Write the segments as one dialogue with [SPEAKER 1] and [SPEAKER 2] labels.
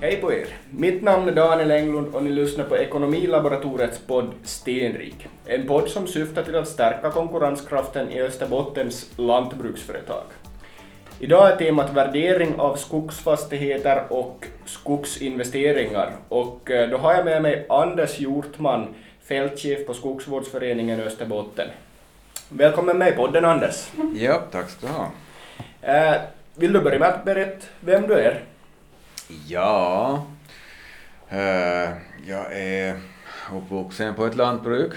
[SPEAKER 1] Hej på er! Mitt namn är Daniel Englund och ni lyssnar på Ekonomilaboratoriets podd Stenrik. En podd som syftar till att stärka konkurrenskraften i Österbottens lantbruksföretag. Idag är temat värdering av skogsfastigheter och skogsinvesteringar och eh, då har jag med mig Anders Hjortman, fältchef på Skogsvårdsföreningen Österbotten. Välkommen med i podden Anders!
[SPEAKER 2] Ja, tack ska du ha.
[SPEAKER 1] Eh, Vill du börja med att berätta vem du är?
[SPEAKER 2] Ja, eh, jag är uppvuxen på ett lantbruk.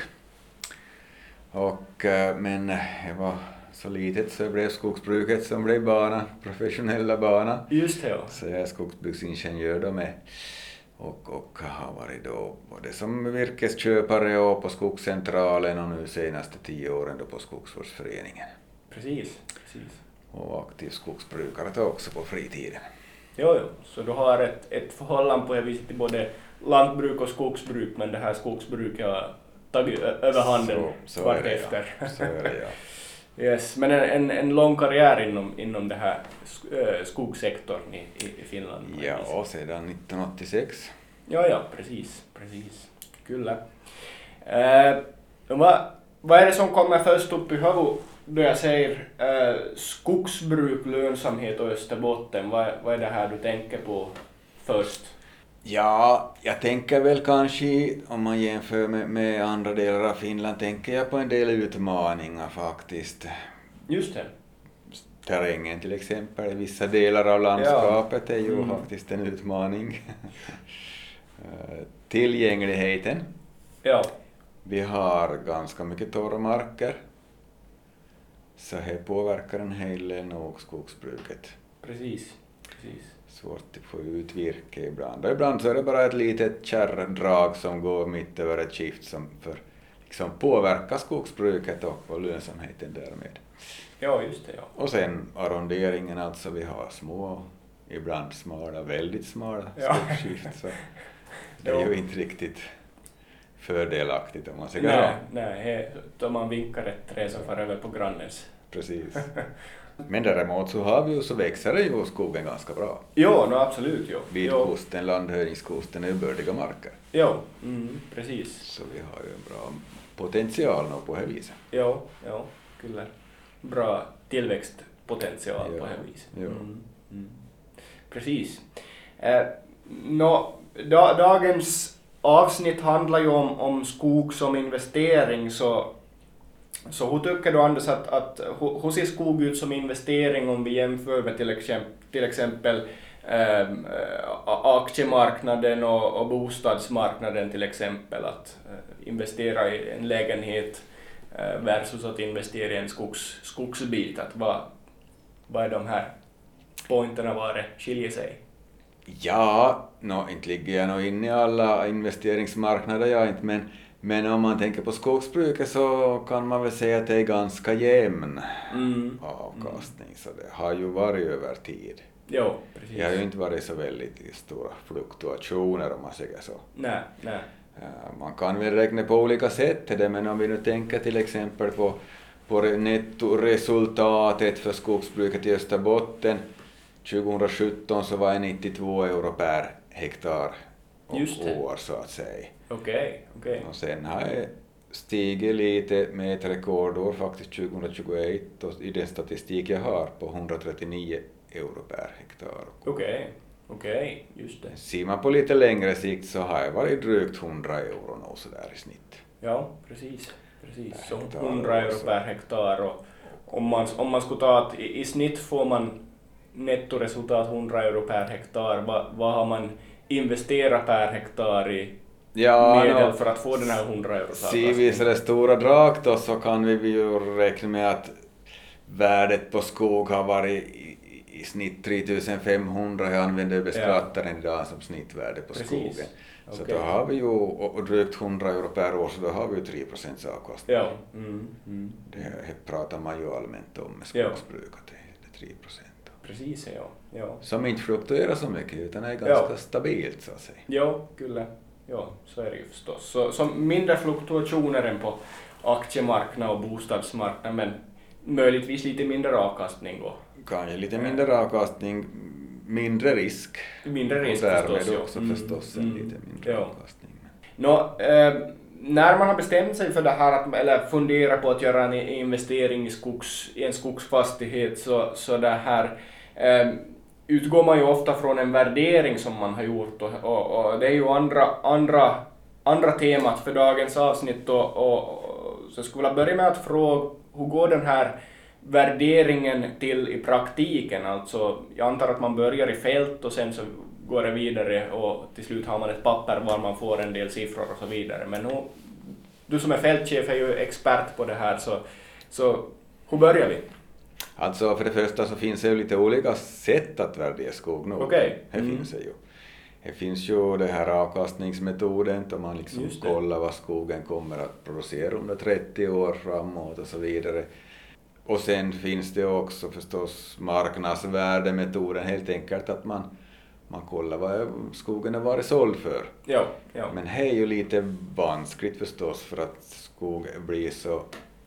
[SPEAKER 2] Och, eh, men jag var så litet så jag blev skogsbruket som blev bana, professionella bana.
[SPEAKER 1] Just det, ja.
[SPEAKER 2] Så jag är skogsbruksingenjör då med. Och, och har varit då både som virkesköpare och på skogscentralen och nu senaste tio åren då på skogsvårdsföreningen.
[SPEAKER 1] Precis. Precis.
[SPEAKER 2] Och aktiv skogsbrukare då också på fritiden.
[SPEAKER 1] Jo, jo. så du har ett, ett förhållande på det viset till både lantbruk och skogsbruk, men det här skogsbruket har tagit ö- överhanden
[SPEAKER 2] Så, så är det,
[SPEAKER 1] vartefter.
[SPEAKER 2] Ja. Så är det, ja.
[SPEAKER 1] Yes. Men en, en, en lång karriär inom, inom det här sk- ö, skogssektorn i, i i Finland. på det
[SPEAKER 2] ja,
[SPEAKER 1] viset.
[SPEAKER 2] och sedan 1986.
[SPEAKER 1] ja, ja, precis, precis. Kyllä. Äh, vad, vad är det som kommer först upp i huvudet då jag säger äh, skogsbruk, lönsamhet och Österbotten? Vad, vad är det här du tänker på först?
[SPEAKER 2] Ja, jag tänker väl kanske, om man jämför med, med andra delar av Finland, tänker jag på en del utmaningar faktiskt.
[SPEAKER 1] Just det.
[SPEAKER 2] Terrängen till exempel, i vissa delar av landskapet är ju
[SPEAKER 1] Mm.
[SPEAKER 2] faktiskt en utmaning. Eh, Tillgängligheten.
[SPEAKER 1] Ja,
[SPEAKER 2] Vi har ganska mycket torra marker. Så det påverkar en hel del nog skogsbruket.
[SPEAKER 1] precis. precis.
[SPEAKER 2] Svårt att få ut virke ibland. Och ibland så är det bara ett litet kärrdrag som går mitt över ett skift som för, liksom påverkar skogsbruket och, och lönsamheten därmed.
[SPEAKER 1] Ja, just det. Ja.
[SPEAKER 2] Och sen arronderingen alltså, vi har små, ibland smala, väldigt smala
[SPEAKER 1] Ja.
[SPEAKER 2] skogsskift. Så det är
[SPEAKER 1] Jo.
[SPEAKER 2] ju inte riktigt fördelaktigt om man säger
[SPEAKER 1] Nej,
[SPEAKER 2] ja.
[SPEAKER 1] nej, he, då man vinkar ett träd som far över på grannens.
[SPEAKER 2] Precis. Men däremot så har vi ju, så växer det ju skogen ganska bra.
[SPEAKER 1] Jo, no, absolut. Jo.
[SPEAKER 2] Vid
[SPEAKER 1] jo,
[SPEAKER 2] kusten, landhöjningskusten är ju bördiga marker.
[SPEAKER 1] jo. Mm, precis.
[SPEAKER 2] Så vi har ju en bra potential nog på det här viset.
[SPEAKER 1] Jo, jo, kyllä. Bra tillväxtpotential
[SPEAKER 2] Ja,
[SPEAKER 1] på det viset.
[SPEAKER 2] ja.
[SPEAKER 1] Mm, mm. Precis. Eh, nå, da, dagens avsnitt handlar ju om, om skog som investering, så, så hur tycker du Anders att, att hu- hur ser skog ut som investering om vi jämför med till exempel, till exempel ehm, eh, a- aktiemarknaden och, och bostadsmarknaden till exempel, att eh, investera i en lägenhet eh, versus att investera i en skogs, skogsbit, att vad, vad är de här pointerna var det skiljer sig?
[SPEAKER 2] Ja, nå inte ligger jag nog inne i alla investeringsmarknader jag inte, men, men om man tänker på skogsbruket så kan man väl säga att det är ganska jämn
[SPEAKER 1] Mm.
[SPEAKER 2] avkastning, så det har ju varit över tid.
[SPEAKER 1] Jo, precis.
[SPEAKER 2] Det har ju inte varit så väldigt stora fluktuationer om man säger så.
[SPEAKER 1] Nej, nej.
[SPEAKER 2] Eh, Man kan väl räkna på olika sätt till det, men om vi nu tänker till exempel på, på re- nettoresultatet för skogsbruket i Österbotten. 2017 så var det 92 euro per hektar och
[SPEAKER 1] Just det.
[SPEAKER 2] år så att säga.
[SPEAKER 1] Okej, okej.
[SPEAKER 2] Och sen har det stigit lite med ett rekordår faktiskt 2021 och i den statistik jag har på 139 euro per hektar.
[SPEAKER 1] Okej, okej, just det.
[SPEAKER 2] Ser man på lite längre sikt så har det varit drygt 100 euro nog sådär i snitt.
[SPEAKER 1] Ja, precis. precis. Så
[SPEAKER 2] Hektar
[SPEAKER 1] 100 euro
[SPEAKER 2] också.
[SPEAKER 1] per hektar och om man, om man skulle ta att i, i snitt får man nettoresultat 100 euro per hektar, vad, vad har man investerat per hektar i
[SPEAKER 2] Ja,
[SPEAKER 1] medel
[SPEAKER 2] nå,
[SPEAKER 1] för att få den här 100 euro
[SPEAKER 2] ser vi så det stora draget då så kan vi ju räkna med att värdet på skog har varit i, i- i snitt 3500, jag använder beskattaren idag som snittvärde på
[SPEAKER 1] Precis.
[SPEAKER 2] skogen. Så
[SPEAKER 1] Okej.
[SPEAKER 2] då har vi ju och, och drygt 100 euro per år, så då har vi ju 3 procents avkastning.
[SPEAKER 1] Ja. Mm, mm.
[SPEAKER 2] Det här pratar man ju allmänt om med
[SPEAKER 1] Ja.
[SPEAKER 2] skogsbruk, att det är 3 procent.
[SPEAKER 1] Precis, ja. ja.
[SPEAKER 2] Som inte fluktuerar så mycket, utan är
[SPEAKER 1] Ja.
[SPEAKER 2] ganska stabilt så att säga.
[SPEAKER 1] Ja, kyllä. Ja, så är det ju förstås. Så, så mindre fluktuationer än på aktiemarknaden och bostadsmarknaden, men möjligtvis lite mindre avkastning då.
[SPEAKER 2] Kanske lite mindre avkastning, mm, mindre risk.
[SPEAKER 1] Mindre risk
[SPEAKER 2] och därmed
[SPEAKER 1] förstås, ja.
[SPEAKER 2] också
[SPEAKER 1] Mm,
[SPEAKER 2] förstås en
[SPEAKER 1] mm,
[SPEAKER 2] lite mindre
[SPEAKER 1] ja.
[SPEAKER 2] avkastning.
[SPEAKER 1] Nå, eh, när man har bestämt sig för det här, att, eller funderar på att göra en investering i, skogs, i en skogsfastighet, så, så det här, eh, utgår man ju ofta från en värdering som man har gjort och, och, och det är ju andra, andra, andra temat för dagens avsnitt. Och, och, och, så jag skulle vilja börja med att fråga, hur går den här värderingen till i praktiken? Alltså, jag antar att man börjar i fält och sen så går det vidare och till slut har man ett papper var man får en del siffror och så vidare. Men nu, du som är fältchef är ju expert på det här, så, så hur börjar vi?
[SPEAKER 2] Alltså för det första så finns det ju lite olika sätt att värdera skog nu.
[SPEAKER 1] Okej.
[SPEAKER 2] Det
[SPEAKER 1] Mm.
[SPEAKER 2] finns det ju. Det finns ju den här avkastningsmetoden där man liksom
[SPEAKER 1] Just det.
[SPEAKER 2] kollar vad skogen kommer att producera under 30 år framåt och så vidare. Och sen finns det också förstås marknadsvärdemetoden, helt enkelt att man, man kollar vad skogen har varit såld för.
[SPEAKER 1] Ja, ja.
[SPEAKER 2] Men det är ju lite vanskligt förstås för att skog blir så,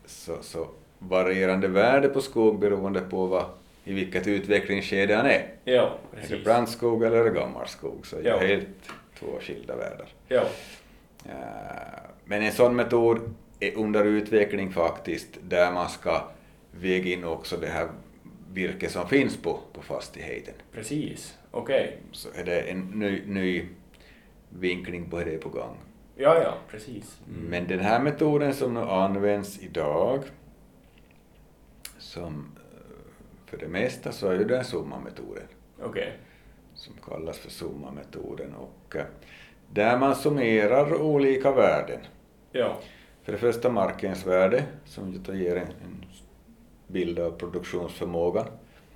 [SPEAKER 2] så, så varierande värde på skog beroende på vad, i vilket utvecklingsskede han är.
[SPEAKER 1] ja
[SPEAKER 2] Är det
[SPEAKER 1] precis.
[SPEAKER 2] brandskog eller är det gammal skog? Så är det
[SPEAKER 1] Ja.
[SPEAKER 2] helt två skilda världar.
[SPEAKER 1] Ja,
[SPEAKER 2] Eh, Men en sån metod är under utveckling faktiskt, där man ska väga in också det här virke som finns på, på fastigheten.
[SPEAKER 1] precis. Okej.
[SPEAKER 2] Så är det en ny, ny vinkling på hur det är på gång.
[SPEAKER 1] Ja, ja, precis.
[SPEAKER 2] Men den här metoden som nu används idag, som eh, för det mesta så är ju den summametoden,
[SPEAKER 1] Okej.
[SPEAKER 2] som kallas för summametoden, och eh, där man summerar olika värden.
[SPEAKER 1] Ja,
[SPEAKER 2] För det första markens värde, som ju då ger en, en bild av produktionsförmågan,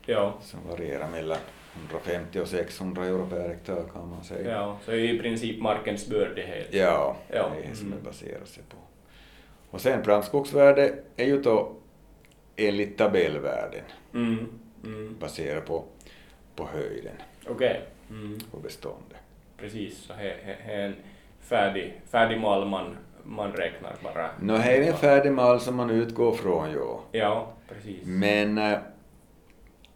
[SPEAKER 1] ja,
[SPEAKER 2] som varierar mellan 150 och 600 euro per hektar kan man säga.
[SPEAKER 1] ja. Så i princip markens bördighet.
[SPEAKER 2] Ja,
[SPEAKER 1] Ja,
[SPEAKER 2] det är det som
[SPEAKER 1] mm.
[SPEAKER 2] det baserar sig på. Och sen brandskogsvärde är ju då enligt tabellvärden
[SPEAKER 1] Mm. Mm.
[SPEAKER 2] baserat på, på höjden
[SPEAKER 1] Okej. Mm.
[SPEAKER 2] och beståndet.
[SPEAKER 1] Precis, så här är en färdig, färdig mall man, man räknar bara.
[SPEAKER 2] Nå, här är en färdig mall som man utgår från, ja.
[SPEAKER 1] Ja, precis.
[SPEAKER 2] Men eh,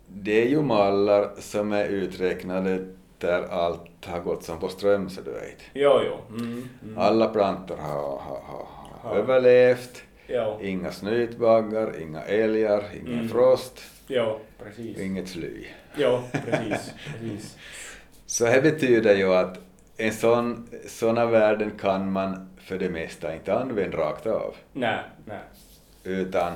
[SPEAKER 2] det är ju mallar som är uträknade där allt har gått som på ström, så du vet.
[SPEAKER 1] Jo, jo. Mm, mm.
[SPEAKER 2] Alla plantor har, har, har, har
[SPEAKER 1] Ja.
[SPEAKER 2] överlevt,
[SPEAKER 1] Ja,
[SPEAKER 2] inga snytbaggar, inga älgar, ingen
[SPEAKER 1] Mm.
[SPEAKER 2] frost.
[SPEAKER 1] ja, precis.
[SPEAKER 2] Inget sly.
[SPEAKER 1] Ja, precis. precis.
[SPEAKER 2] Så det betyder ju att en sån, såna värden kan man för det mesta inte använda rakt av.
[SPEAKER 1] Nej, nej.
[SPEAKER 2] Utan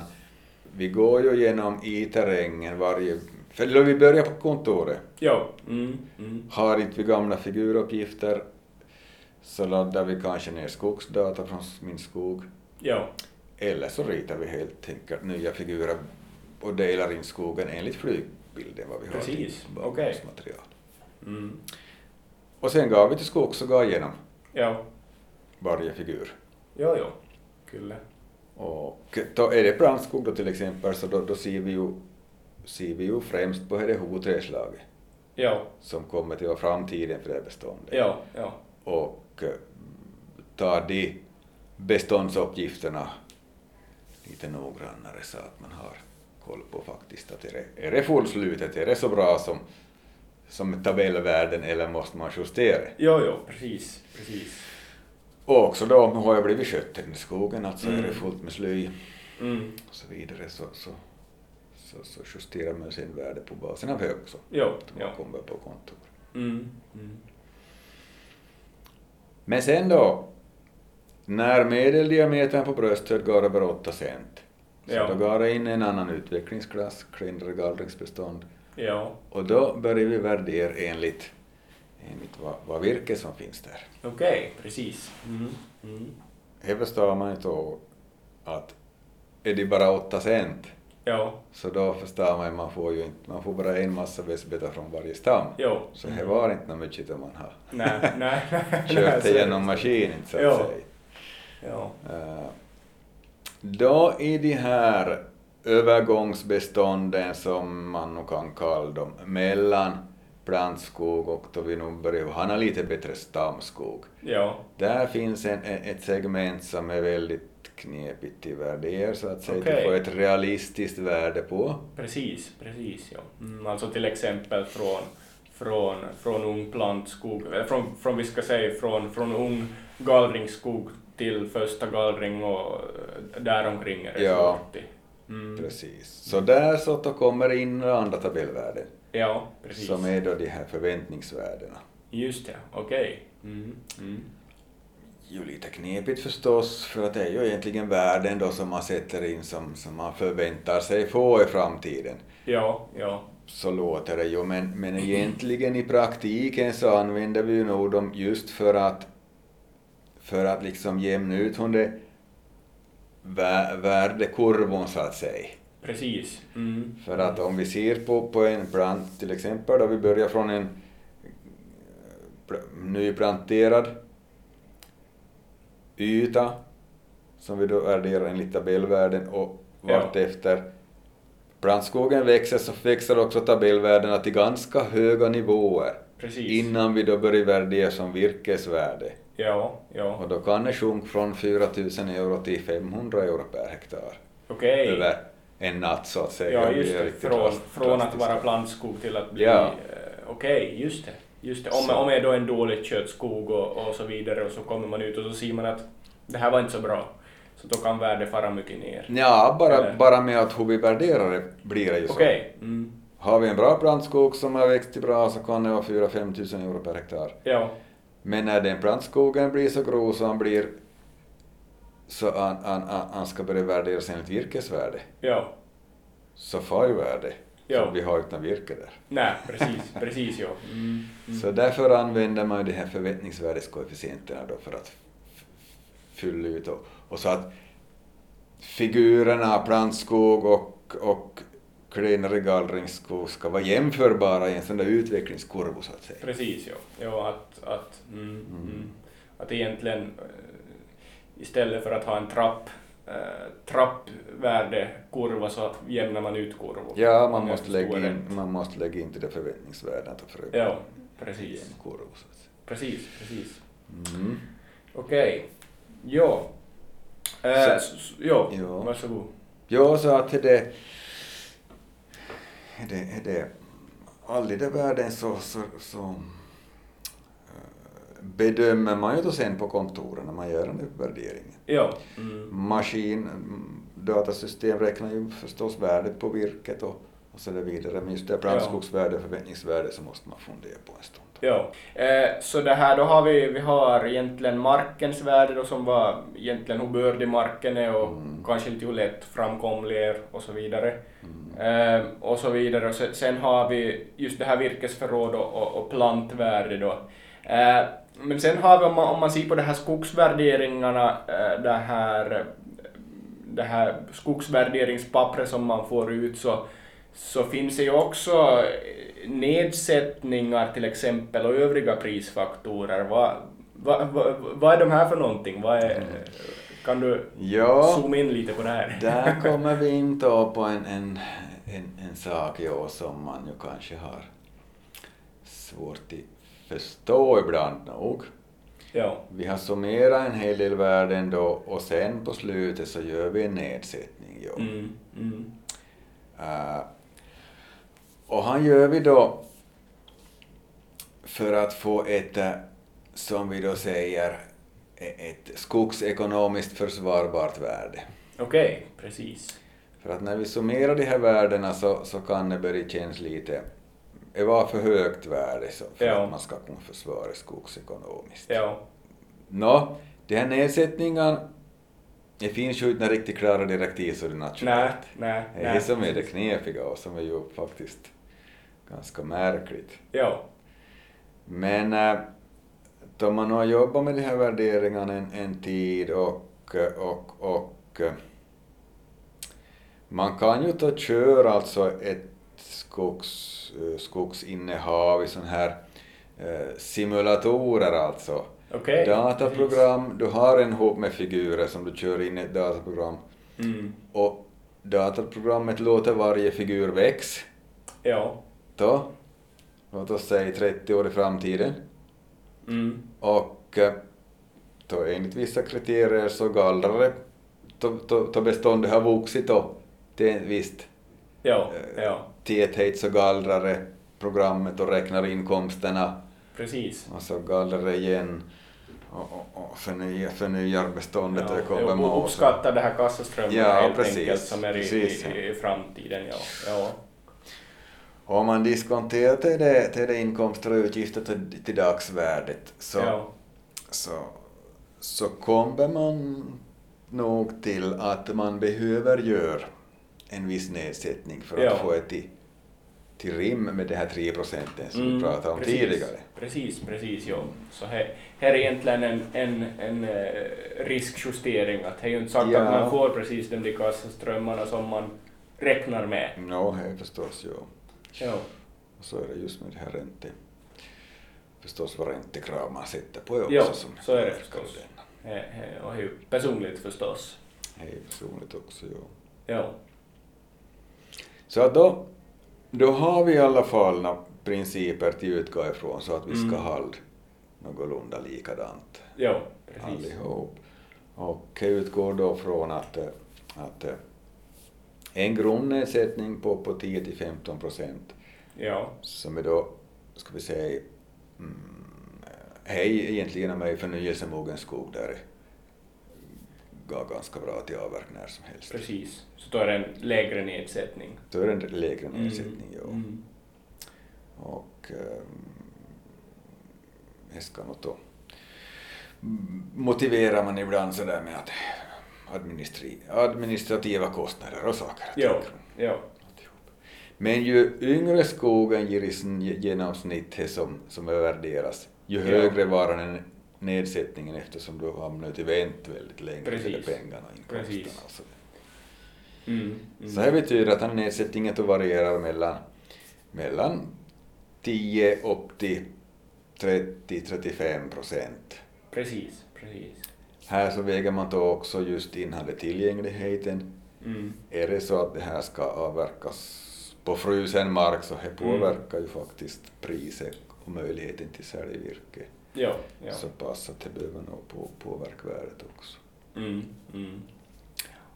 [SPEAKER 2] vi går ju genom i terrängen varje... För då vi börjar på kontoret.
[SPEAKER 1] Jo. Mm, mm.
[SPEAKER 2] Har inte vi gamla figuruppgifter så laddar vi kanske ner skogsdata från min skog.
[SPEAKER 1] Jo.
[SPEAKER 2] Eller så ritar vi helt enkelt nya figurer och delar in skogen enligt flygbilden vad vi har till
[SPEAKER 1] Precis, okej.
[SPEAKER 2] bakgrundsmaterial.
[SPEAKER 1] Mm.
[SPEAKER 2] Och sen går vi till skogs och går igenom
[SPEAKER 1] Jo.
[SPEAKER 2] varje figur.
[SPEAKER 1] Jo, jo. Kyllä.
[SPEAKER 2] Och då är det brandskog då till exempel så då, då ser, vi ju, ser vi ju främst på det huvudträslaget
[SPEAKER 1] Jo,
[SPEAKER 2] som kommer till vara framtiden för det här beståndet.
[SPEAKER 1] jo, jo.
[SPEAKER 2] Och eh, tar de beståndsuppgifterna lite noggrannare så att man har koll på faktiskt att är det, är det fullslutet, är det så bra som, som tabellvärden eller måste man justera det?
[SPEAKER 1] Jo, jo, precis. Precis.
[SPEAKER 2] Och också då har jag blivit skött i den skogen, alltså är
[SPEAKER 1] Mm.
[SPEAKER 2] det fullt med sly
[SPEAKER 1] Mm.
[SPEAKER 2] och så vidare så, så, så, så justerar man sin värde på basen av hög också.
[SPEAKER 1] Jo,
[SPEAKER 2] Att man
[SPEAKER 1] jo.
[SPEAKER 2] kommer på kontoret.
[SPEAKER 1] Mm. Mm.
[SPEAKER 2] Men sen då, när medeldiametern på bröstet går över 8 cent, så
[SPEAKER 1] Ja.
[SPEAKER 2] då går det in en annan utvecklingsklass, klenare gallringsbestånd,
[SPEAKER 1] Jo.
[SPEAKER 2] och då börjar vi värdera enligt, enligt vad, vad virke som finns där.
[SPEAKER 1] Okej, precis. Mm. Mm.
[SPEAKER 2] Här förstår man ju då att är det bara 8 cent,
[SPEAKER 1] Jo,
[SPEAKER 2] så då förstår man ju, man får ju inte, man får bara en massa vesbeta från varje stam.
[SPEAKER 1] jo.
[SPEAKER 2] Så det var inte något mycket om man har
[SPEAKER 1] Nej, nej. nej,
[SPEAKER 2] kört
[SPEAKER 1] så är det.
[SPEAKER 2] igenom maskinen så att
[SPEAKER 1] Ja.
[SPEAKER 2] säga.
[SPEAKER 1] Ja.
[SPEAKER 2] Eh, Då i de här övergångsbestånden som man nog kan kalla dem, mellan plantskog och då vi nog börjar han har lite bättre stamskog.
[SPEAKER 1] Ja,
[SPEAKER 2] Där finns en, en- ett segment som är väldigt knepigt i värder så att säga,
[SPEAKER 1] Okej.
[SPEAKER 2] du får ett realistiskt värde på.
[SPEAKER 1] precis, precis ja. Mm, alltså till exempel från, från, från ung plantskog, eller från, från vi ska säga från, från ung gallringsskog till första gallring och eh, däromkring är det
[SPEAKER 2] Ja.
[SPEAKER 1] 40. Mm.
[SPEAKER 2] Precis. Så där så då kommer det in andra tabellvärden
[SPEAKER 1] Ja, precis.
[SPEAKER 2] som är då de här förväntningsvärdena.
[SPEAKER 1] Just det, okej. Mm. Mm.
[SPEAKER 2] ju lite knepigt förstås, för att det är ju egentligen värden då som man sätter in som, som man förväntar sig få i framtiden.
[SPEAKER 1] Ja, ja.
[SPEAKER 2] Så låter det ju, men, men egentligen i praktiken så använder vi ju nog dem just för att, för att liksom jämna ut under vä- värdekurvan så att säga.
[SPEAKER 1] Precis. Mm.
[SPEAKER 2] För att om vi ser på, på en plant till exempel, då vi börjar från en pl- nyplanterad yta som vi då adderar enligt tabellvärden och
[SPEAKER 1] Ja.
[SPEAKER 2] vartefter plantskogen växer så växer också tabellvärdena till ganska höga nivåer
[SPEAKER 1] Precis.
[SPEAKER 2] innan vi då börjar värdera som virkesvärde.
[SPEAKER 1] Ja, ja.
[SPEAKER 2] Och då kan det sjunka från 4000 euro till 500 euro per hektar
[SPEAKER 1] Okej.
[SPEAKER 2] över en natt så att säga.
[SPEAKER 1] Ja,
[SPEAKER 2] blir
[SPEAKER 1] just det.
[SPEAKER 2] riktigt
[SPEAKER 1] Från,
[SPEAKER 2] drast-
[SPEAKER 1] från att
[SPEAKER 2] drastiskt.
[SPEAKER 1] vara plantskog till att bli...
[SPEAKER 2] Ja.
[SPEAKER 1] eh, Okej, just det. Just det. Om,
[SPEAKER 2] Så.
[SPEAKER 1] om det då är en dålig köttskog och, och så vidare och så kommer man ut och så ser man att det här var inte så bra. Så då kan värdet fara mycket ner.
[SPEAKER 2] Ja, bara,
[SPEAKER 1] Eller?
[SPEAKER 2] bara med att hur vi värderar det blir det ju så.
[SPEAKER 1] Okej. Mm.
[SPEAKER 2] Har vi en bra plantskog som har växt till bra så kan det vara 4-5 tusen euro per hektar.
[SPEAKER 1] Ja,
[SPEAKER 2] Men när den plantskogen blir så grov så han blir så han, han, han, han ska börja värderas enligt virkesvärde,
[SPEAKER 1] ja.
[SPEAKER 2] så far ju värde
[SPEAKER 1] Ja.
[SPEAKER 2] som vi har utan virke där.
[SPEAKER 1] Nej, precis. precis, ja. Mm. Mm.
[SPEAKER 2] Så därför använder man ju de här förväntningsvärdeskoefficienterna då för att f- fylla ut och, och så att figurerna plantskog och, och klenare gallringsskog ska vara jämförbara i en sån där utvecklingskurva så att säga.
[SPEAKER 1] Precis, ja. ja att, att, mm,
[SPEAKER 2] Mm.
[SPEAKER 1] mm. att egentligen eh, istället för att ha en trapp, eh, trappvärdekurva så jämnar man ut kurvor.
[SPEAKER 2] Ja, man
[SPEAKER 1] Om jag
[SPEAKER 2] måste,
[SPEAKER 1] förstår
[SPEAKER 2] lägga in,
[SPEAKER 1] rätt.
[SPEAKER 2] man måste lägga in till det förväntningsvärdena och för
[SPEAKER 1] Ja,
[SPEAKER 2] i
[SPEAKER 1] precis.
[SPEAKER 2] en kurva så att säga.
[SPEAKER 1] Precis, precis.
[SPEAKER 2] Mm.
[SPEAKER 1] Okej. Ja.
[SPEAKER 2] Så-
[SPEAKER 1] Eh, s- s- ja,
[SPEAKER 2] Ja.
[SPEAKER 1] varsågod.
[SPEAKER 2] Ja, så att är det, är det, är det all i den världen så, så, så eh, bedömer man ju då sen på kontoren när man gör den här värderingen.
[SPEAKER 1] Ja. Mm.
[SPEAKER 2] Maskin, mm, datasystem räknar ju förstås värdet på virket och, och så där vidare. Men just det här plantskogsvärde och förväntningsvärde så måste man fundera på en stund.
[SPEAKER 1] Ja. Eh, så det här, då har vi, vi har egentligen markens värde då som var egentligen hur bördig marken är och
[SPEAKER 2] Mm.
[SPEAKER 1] kanske inte hur lätt framkomlig är och så vidare.
[SPEAKER 2] Mm.
[SPEAKER 1] Eh, och så vidare. Och se- sen har vi just det här virkesförråd och, och, och plantvärde då. Eh, men sen har vi, om man, om man ser på de här skogsvärderingarna, eh, det här, det här skogsvärderingspappret som man får ut, så, så finns det ju också eh, nedsättningar till exempel och övriga prisfaktorer. Vad, vad, vad, vad är de här för någonting? Vad är, kan du
[SPEAKER 2] Mm. Ja.
[SPEAKER 1] zooma in lite på det här?
[SPEAKER 2] Där kommer vi in då på en, en, en, en sak i år som man ju kanske har svårt att förstå ibland nog.
[SPEAKER 1] ja.
[SPEAKER 2] Vi har summerat en hel del värden då och sen på slutet så gör vi en nedsättning. Jo.
[SPEAKER 1] Mm, mm.
[SPEAKER 2] Eh, och han gör vi då för att få ett, eh, som vi då säger, e- ett skogsekonomiskt försvarbart värde.
[SPEAKER 1] Okej, precis.
[SPEAKER 2] För att när vi summerar de här värdena så, så kan det börja kännas lite... Det var för högt värde så, för
[SPEAKER 1] Ja.
[SPEAKER 2] att man ska kunna försvara skogsekonomiskt.
[SPEAKER 1] Ja,
[SPEAKER 2] Nå, de här nedsättningarna... Det finns ju inte några riktigt klara direktiv så det är
[SPEAKER 1] nej,
[SPEAKER 2] nationellt.
[SPEAKER 1] nej,
[SPEAKER 2] Det är
[SPEAKER 1] nej.
[SPEAKER 2] det som är det knepiga och som är ju faktiskt ganska märkligt.
[SPEAKER 1] Ja,
[SPEAKER 2] Men äh, då man har jobbat med de här värderingarna en, en tid och, eh, och, och eh, man kan ju ta köra alltså ett skogs, eh, skogsinnehav i sån här eh, simulatorer alltså.
[SPEAKER 1] okej.
[SPEAKER 2] Dataprogram, du har en hop med figurer som du kör in i ett dataprogram
[SPEAKER 1] Precis. Mm.
[SPEAKER 2] och dataprogrammet låter varje figur växa
[SPEAKER 1] Ja.
[SPEAKER 2] då, låt oss säga 30 år i framtiden.
[SPEAKER 1] Mm.
[SPEAKER 2] Och eh, då enligt vissa kriterier så gallrar det, då, då, då beståndet har vuxit då till en visst
[SPEAKER 1] Ja,
[SPEAKER 2] eh,
[SPEAKER 1] ja.
[SPEAKER 2] täthet så gallrar det programmet och räknar inkomsterna
[SPEAKER 1] Precis.
[SPEAKER 2] och så gallrar igen och, och, och förnyar, förnyar beståndet och
[SPEAKER 1] Ja,
[SPEAKER 2] kommer
[SPEAKER 1] och uppskatta det här kassaströmmen
[SPEAKER 2] Ja,
[SPEAKER 1] helt
[SPEAKER 2] precis,
[SPEAKER 1] enkelt som är i,
[SPEAKER 2] precis, ja.
[SPEAKER 1] i, i framtiden. Ja. Ja.
[SPEAKER 2] Om man diskonterar till det, till det inkomster och utgifter till, till dagsvärdet så,
[SPEAKER 1] Ja.
[SPEAKER 2] så, så kommer man nog till att man behöver göra en viss nedsättning för
[SPEAKER 1] Ja.
[SPEAKER 2] att få det till, till rim med de här 3 procenten som vi pratade om
[SPEAKER 1] Mm, precis,
[SPEAKER 2] tidigare.
[SPEAKER 1] Precis, precis. Ja. Så här, här är egentligen en, en, en eh, riskjustering. Att det är ju inte sagt
[SPEAKER 2] Ja.
[SPEAKER 1] att man får precis de där kassaströmmarna som man räknar med.
[SPEAKER 2] Ja, det är förstås, ja.
[SPEAKER 1] Ja.
[SPEAKER 2] Och så är det just med det här ränte... Förstås vad räntekrav man sätter på också.
[SPEAKER 1] Ja, så är det förstås.
[SPEAKER 2] Den.
[SPEAKER 1] Eh, eh, Och det är ju personligt förstås.
[SPEAKER 2] Det är personligt också, ja.
[SPEAKER 1] Ja.
[SPEAKER 2] Så att då, då har vi i alla fall några principer att utgå ifrån så att vi ska
[SPEAKER 1] Mm.
[SPEAKER 2] hålla någorlunda likadant
[SPEAKER 1] Ja, precis.
[SPEAKER 2] allihop. Och jag utgår då från att, eh, att eh, en grundnedsättning på, på 10 till 15 procent
[SPEAKER 1] Ja.
[SPEAKER 2] som är då, ska vi säga, mm, hej egentligen om jag är förnyelsemogen skog där går ganska bra till avverk när som helst.
[SPEAKER 1] Precis. Så då är det en lägre nedsättning.
[SPEAKER 2] Då är det en lägre nedsättning,
[SPEAKER 1] Mm,
[SPEAKER 2] ja.
[SPEAKER 1] mm.
[SPEAKER 2] Och eh, det ska nog då motiverar man ibland sådär med att administri- administrativa kostnader och saker. och ting.
[SPEAKER 1] Ja, ja.
[SPEAKER 2] Men ju yngre skogen ger i sn- genomsnitt det som, som övervärderas, ju
[SPEAKER 1] Ja.
[SPEAKER 2] högre var den nedsättningen eftersom du har nu till vänt väldigt länge till de
[SPEAKER 1] Precis.
[SPEAKER 2] pengarna och inkomsterna.
[SPEAKER 1] Precis.
[SPEAKER 2] alltså. och så.
[SPEAKER 1] Mm, mm.
[SPEAKER 2] Så här betyder att den här nedsättningen då varierar mellan, mellan 10 upp till 30-35 procent.
[SPEAKER 1] Precis, precis.
[SPEAKER 2] Här så väger man då också just in här det tillgängligheten.
[SPEAKER 1] Mm.
[SPEAKER 2] Är det så att det här ska avverkas på frusen mark så
[SPEAKER 1] Mm.
[SPEAKER 2] det påverkar ju faktiskt priset och möjligheten till säljvirke
[SPEAKER 1] Ja, ja.
[SPEAKER 2] så pass att det behöver nog på, påverka värdet också.
[SPEAKER 1] Mm, mm.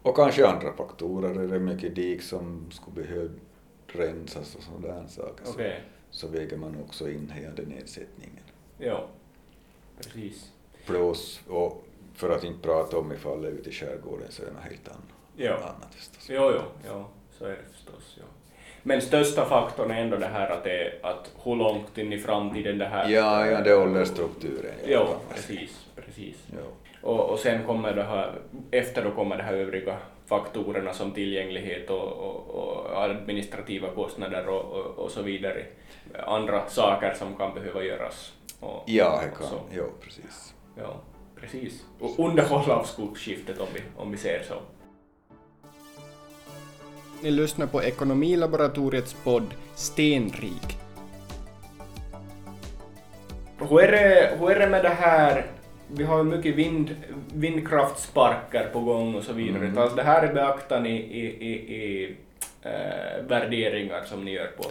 [SPEAKER 2] Och kanske andra faktorer, är det mycket dik som skulle behöva rensas och sådana saker.
[SPEAKER 1] Okej.
[SPEAKER 2] så- så väger man också in hela den nedsättningen.
[SPEAKER 1] Ja, precis.
[SPEAKER 2] Plus, och för att inte prata om ifall det är ute i skärgården så är det något helt annat,
[SPEAKER 1] Ja.
[SPEAKER 2] annat förstås.
[SPEAKER 1] Jo, jo, ja, så är det förstås. Ja. Men största faktorn är ändå det här att, det, är- att hur långt in i framtiden det här...
[SPEAKER 2] Ja, ja, det är åldersstrukturen.
[SPEAKER 1] Ja, precis, precis.
[SPEAKER 2] Ja.
[SPEAKER 1] Och, och sen kommer det här, efter då kommer de här övriga faktorerna som tillgänglighet och, och, och administrativa kostnader och, och, och så vidare. Andra saker som kan behöva göras. Och,
[SPEAKER 2] ja, det
[SPEAKER 1] och så.
[SPEAKER 2] kan. Ja, precis.
[SPEAKER 1] Ja, precis. Och underhåll av skogsskiftet om vi, om vi ser så. Ni lyssnar på Ekonomilaboratoriets podd Stenrik. Hur är, det, hur är det med det här, vi har ju mycket vind, vindkraftsparker på gång och så vidare,
[SPEAKER 2] Mm.
[SPEAKER 1] tas det här i beaktan i, i, i, i eh, värderingar som ni gör på,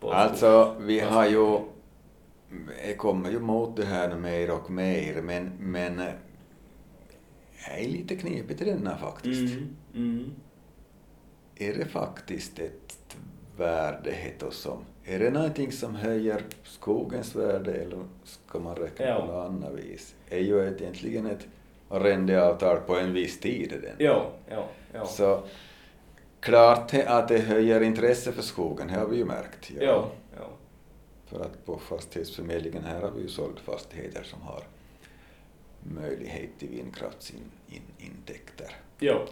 [SPEAKER 1] på
[SPEAKER 2] Alltså, vi har ju... Jag kommer ju mot det här nu mer och mer, men, men eh, det är lite knepigt i denna faktiskt.
[SPEAKER 1] Mm, mm.
[SPEAKER 2] Är det faktiskt ett värde hett och som? Är det någonting som höjer skogens värde eller ska man räkna
[SPEAKER 1] Ja.
[SPEAKER 2] på något annat vis? Är ju ett- egentligen ett arrendeavtal på en viss tid. är Den.
[SPEAKER 1] Ja, ja, ja.
[SPEAKER 2] Så klart är att det höjer intresse för skogen, det har vi ju märkt. ja.
[SPEAKER 1] Ja, ja.
[SPEAKER 2] För att på fastighetsförmedlingen här har vi ju sålt fastigheter som har möjlighet till vindkraftsintäkter.
[SPEAKER 1] Ja,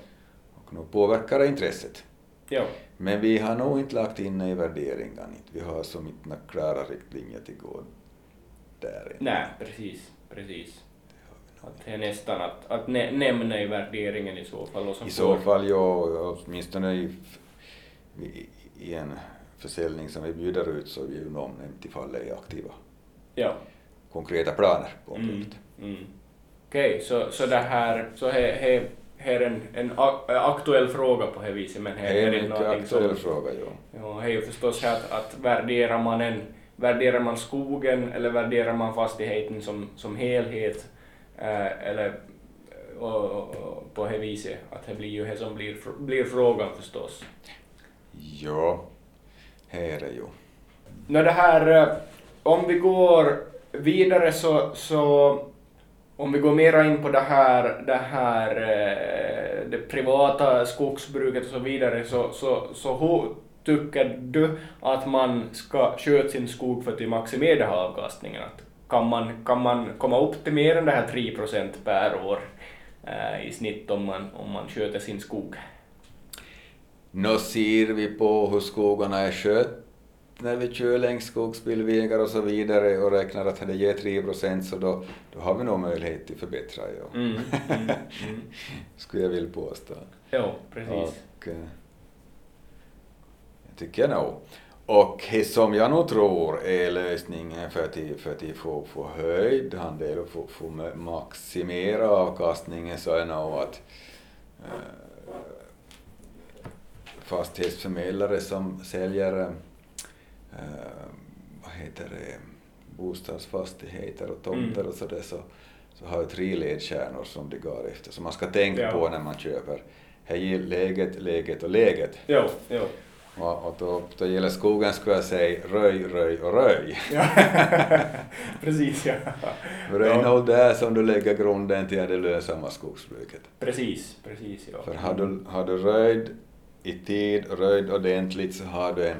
[SPEAKER 2] Och nu påverkar det intresset.
[SPEAKER 1] ja,
[SPEAKER 2] Men vi har nog inte lagt in det i värderingen. inte. Vi har som inte några klara riktlinjer till gå där. än.
[SPEAKER 1] nej, precis, precis.
[SPEAKER 2] Det har vi nog
[SPEAKER 1] Att det är nästan att, att nä, nämna i värderingen i så fall. Och som
[SPEAKER 2] inte. I så
[SPEAKER 1] får-
[SPEAKER 2] fall, ja, åtminstone i, f- i, i en försäljning som vi bjuder ut så är vi ju omnämnt ifall det är aktiva,
[SPEAKER 1] Ja.
[SPEAKER 2] konkreta planer på
[SPEAKER 1] Mm,
[SPEAKER 2] området.
[SPEAKER 1] Mm. Okej, så, så det här, så här, här, här är en, en a- aktuell fråga på det viset, men här
[SPEAKER 2] Det är
[SPEAKER 1] är
[SPEAKER 2] en
[SPEAKER 1] det
[SPEAKER 2] mycket
[SPEAKER 1] någonting
[SPEAKER 2] aktuell
[SPEAKER 1] som...
[SPEAKER 2] fråga, ja.
[SPEAKER 1] Ja, det är ju förstås här att, att värderar man en, värderar man skogen eller värderar man fastigheten som, som helhet, eh, eller och, och, och, på det viset, att det blir ju det som blir, fr- blir frågan förstås.
[SPEAKER 2] Ja, här är ju.
[SPEAKER 1] Nå det här, eh, om vi går vidare så, så om vi går mera in på det här, det här eh, det privata skogsbruket och så vidare, så, så, så hur tycker du att man ska sköta sin skog för att maximera den här avkastningen? Att kan, man, kan man komma upp till mer än det här 3 procent per år eh, i snitt om man, om man sköter sin skog?
[SPEAKER 2] Nu ser vi på hur skogarna är skött när vi kör längs skogsbilvägar och så vidare och räknar att det ger 3 procent så då, då har vi nog möjlighet till förbättra. Ja.
[SPEAKER 1] Mm, mm, mm.
[SPEAKER 2] Skulle jag vilja påstå.
[SPEAKER 1] Jo, precis.
[SPEAKER 2] Och, eh, jag tycker nog. Och det som jag nog tror är lösningen för att, i- för att i få, få höjd andel och få, få ma- maximera avkastningen så är nog att eh, fastighetsförmedlare som säljer eh, vad heter det, bostadsfastigheter och tomter
[SPEAKER 1] Mm.
[SPEAKER 2] och sådär så, så har ju tre ledstjärnor som de går efter som man ska tänka
[SPEAKER 1] Ja.
[SPEAKER 2] på när man köper. Här är läget, läget och läget.
[SPEAKER 1] Jo, jo.
[SPEAKER 2] Och, och då, då gäller skogen skulle jag säga röj, röj och röj.
[SPEAKER 1] Ja. Precis, ja.
[SPEAKER 2] För det är nog där som du lägger grunden till det lönsamma skogsbruket.
[SPEAKER 1] Precis, precis, ja.
[SPEAKER 2] För har du, har du röjd i tid, röjd ordentligt så har du en,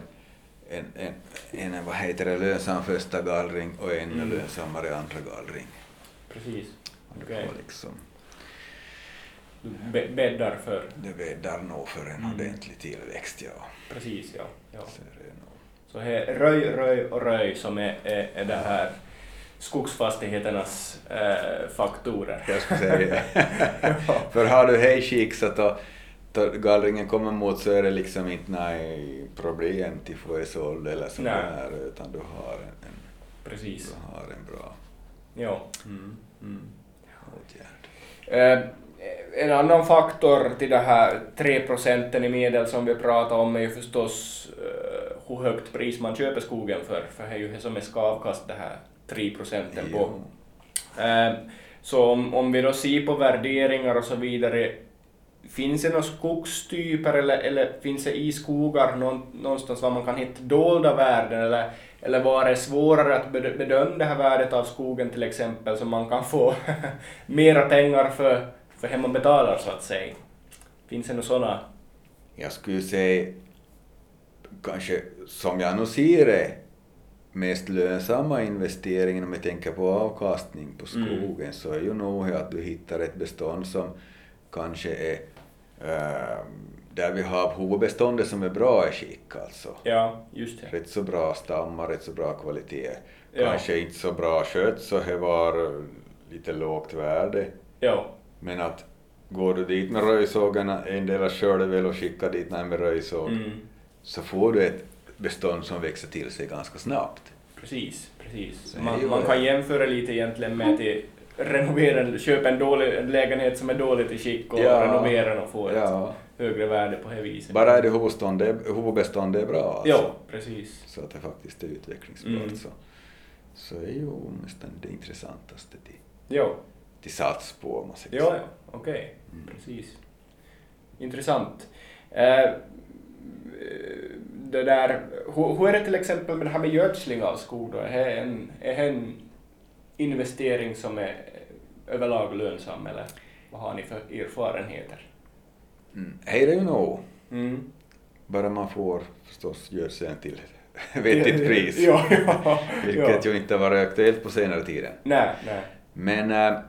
[SPEAKER 2] en, en, en vad heter det, lönsam första gallring och en
[SPEAKER 1] Mm.
[SPEAKER 2] lönsammare andra gallring.
[SPEAKER 1] Precis.
[SPEAKER 2] Och du
[SPEAKER 1] Okej.
[SPEAKER 2] får liksom,
[SPEAKER 1] Du bä- bäddar för...
[SPEAKER 2] du bäddar nog för en
[SPEAKER 1] Mm.
[SPEAKER 2] ordentlig tillväxt, ja.
[SPEAKER 1] Precis, ja. ja.
[SPEAKER 2] Så är det nog.
[SPEAKER 1] Så här röj, röj och röj som är, är, är det här skogsfastigheternas eh, faktorer.
[SPEAKER 2] Jag skulle säga.
[SPEAKER 1] Ja.
[SPEAKER 2] För har du hej skick så då, då gallringen kommer mot så är det liksom inte nej problem till få det såld eller så
[SPEAKER 1] Nej.
[SPEAKER 2] där utan du har en, en,
[SPEAKER 1] Precis.
[SPEAKER 2] du har en bra
[SPEAKER 1] Ja. Mm. Mm.
[SPEAKER 2] åtgärd.
[SPEAKER 1] Eh, En annan faktor till det här 3 procenten i medel som vi pratar om är ju förstås eh, hur högt pris man köper skogen för, för det är ju det som är ska avkasta det här 3 procenten på.
[SPEAKER 2] Jo.
[SPEAKER 1] Eh, Så om, om vi då ser på värderingar och så vidare, finns det några skogstyper eller, eller finns det i skogar någon, någonstans var man kan hitta dolda värden eller, eller var det svårare att bedö- bedöma det här värdet av skogen till exempel så man kan få mera pengar för, för hemma betalar så att säga? Finns det några sådana?
[SPEAKER 2] Jag skulle säga kanske som jag nu ser det mest lönsamma investeringen om vi tänker på avkastning på skogen så är ju nog att du hittar ett bestånd som kanske är eh, där vi har huvudbeståndet som är bra i skick alltså.
[SPEAKER 1] Ja, just det.
[SPEAKER 2] Rätt så bra stammar, rätt så bra kvalitet.
[SPEAKER 1] Ja.
[SPEAKER 2] Kanske inte så bra skött så det var eh, lite lågt värde.
[SPEAKER 1] Ja,
[SPEAKER 2] Men att går du dit med röjsågarna, en del skör du väl och skickar dit när med röjsåg,
[SPEAKER 1] mm,
[SPEAKER 2] så får du ett bestånd som växer till sig ganska snabbt.
[SPEAKER 1] precis. precis.
[SPEAKER 2] Så det är ju
[SPEAKER 1] Man, man
[SPEAKER 2] det.
[SPEAKER 1] kan jämföra lite egentligen med att i- renovera, köpa en, dålig, en lägenhet som är dåligt i skick och
[SPEAKER 2] Ja.
[SPEAKER 1] renovera den och få ett
[SPEAKER 2] Ja,
[SPEAKER 1] högre värde på det viset.
[SPEAKER 2] bara är det alltså. huvudstånd- det huvudbestånd det är bra alltså.
[SPEAKER 1] Ja, precis.
[SPEAKER 2] Så att det faktiskt är utvecklingsbart
[SPEAKER 1] Mm.
[SPEAKER 2] så, så är ju nästan det intressantaste till,
[SPEAKER 1] Ja,
[SPEAKER 2] till sats på om man säger
[SPEAKER 1] ja,
[SPEAKER 2] så.
[SPEAKER 1] ja. okej.
[SPEAKER 2] Mm.
[SPEAKER 1] Precis. Intressant. Eh, det där, hur, hur är det till exempel med det här med gödsling av skog då? Är det en, är det en investering som är överlag lönsam eller vad har ni för erfarenheter?
[SPEAKER 2] Mm. Här är det ju nog.
[SPEAKER 1] Mm.
[SPEAKER 2] Bara man får förstås gödseln till vettigt pris.
[SPEAKER 1] Ja, ja,
[SPEAKER 2] Vilket
[SPEAKER 1] ja.
[SPEAKER 2] ju inte har varit aktuellt på senare tiden.
[SPEAKER 1] Nej, nej.
[SPEAKER 2] Men äh,